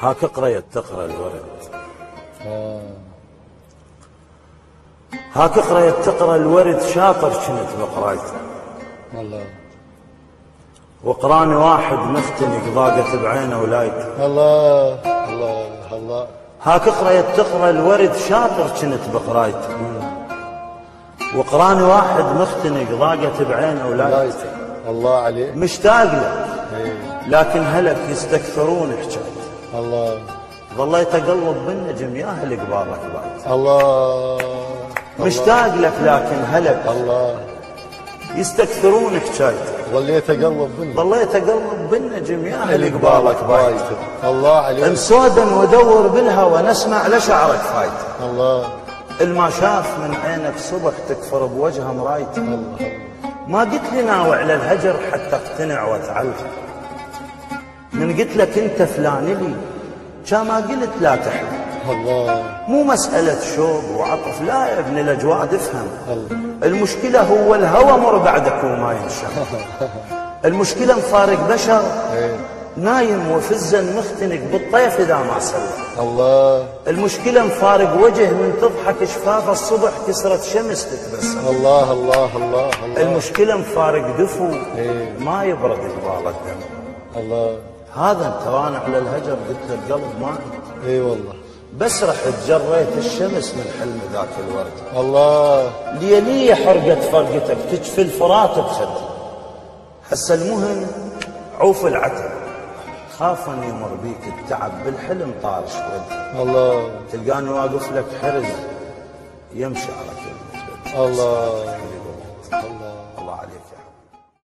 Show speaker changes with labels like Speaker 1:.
Speaker 1: هاك قريت تقرا الورد
Speaker 2: آه.
Speaker 1: هاك قريت تقرا الورد شاطر كنت بقرايته
Speaker 2: الله
Speaker 1: وقراني واحد مفتنك ضاقت بعينه ولايته
Speaker 2: الله الله الله
Speaker 1: هاك قريت تقرا الورد شاطر كنت بقرايته وقراني واحد مختنق ضاقت بعينه
Speaker 2: الله
Speaker 1: ولايته
Speaker 2: يسلمك الله عليك
Speaker 1: مشتاق له
Speaker 2: إيه.
Speaker 1: لكن هلك يستكثرون حجاب
Speaker 2: الله
Speaker 1: ظليت اقلب بالنجم يا اهل قبارك بعد
Speaker 2: الله
Speaker 1: مشتاق لك لكن هلك
Speaker 2: الله
Speaker 1: يستكثرون حجايته
Speaker 2: ظليت اقلب منه
Speaker 1: ظليت اقلب بالنجم يا اهل قبارك بعد
Speaker 2: الله عليك
Speaker 1: انسودا ودور بالهوى نسمع لشعرك فايته
Speaker 2: الله
Speaker 1: الما شاف من عينك صبح تكفر بوجهه مرايته
Speaker 2: الله
Speaker 1: ما قلت لي ناوع للهجر حتى اقتنع واتعلق من قلت لك انت فلان لي شا ما قلت لا تحلم
Speaker 2: الله
Speaker 1: مو مسألة شوق وعطف لا يا ابن الأجواد افهم
Speaker 2: الله
Speaker 1: المشكلة هو الهوى مر بعدك وما ينشر المشكلة مفارق بشر
Speaker 2: إيه.
Speaker 1: نايم وفزا مختنق بالطيف إذا ما سلم
Speaker 2: الله
Speaker 1: المشكلة مفارق وجه من تضحك شفافه الصبح كسرة شمس تتبسم
Speaker 2: الله الله الله الله
Speaker 1: المشكلة مفارق دفو
Speaker 2: إيه.
Speaker 1: ما يبرد قبال الدم
Speaker 2: الله
Speaker 1: هذا التوانع للهجر قلت له القلب مات
Speaker 2: اي والله
Speaker 1: بس رح تجريت الشمس من حلم ذاك الورد
Speaker 2: الله
Speaker 1: ليلية حرقت فرقتك تجفي الفرات بخدي هسا المهم عوف العتب خاف ان يمر بيك التعب بالحلم طارش ودي
Speaker 2: الله
Speaker 1: تلقاني واقف لك حرز يمشي على كلمة
Speaker 2: الله الله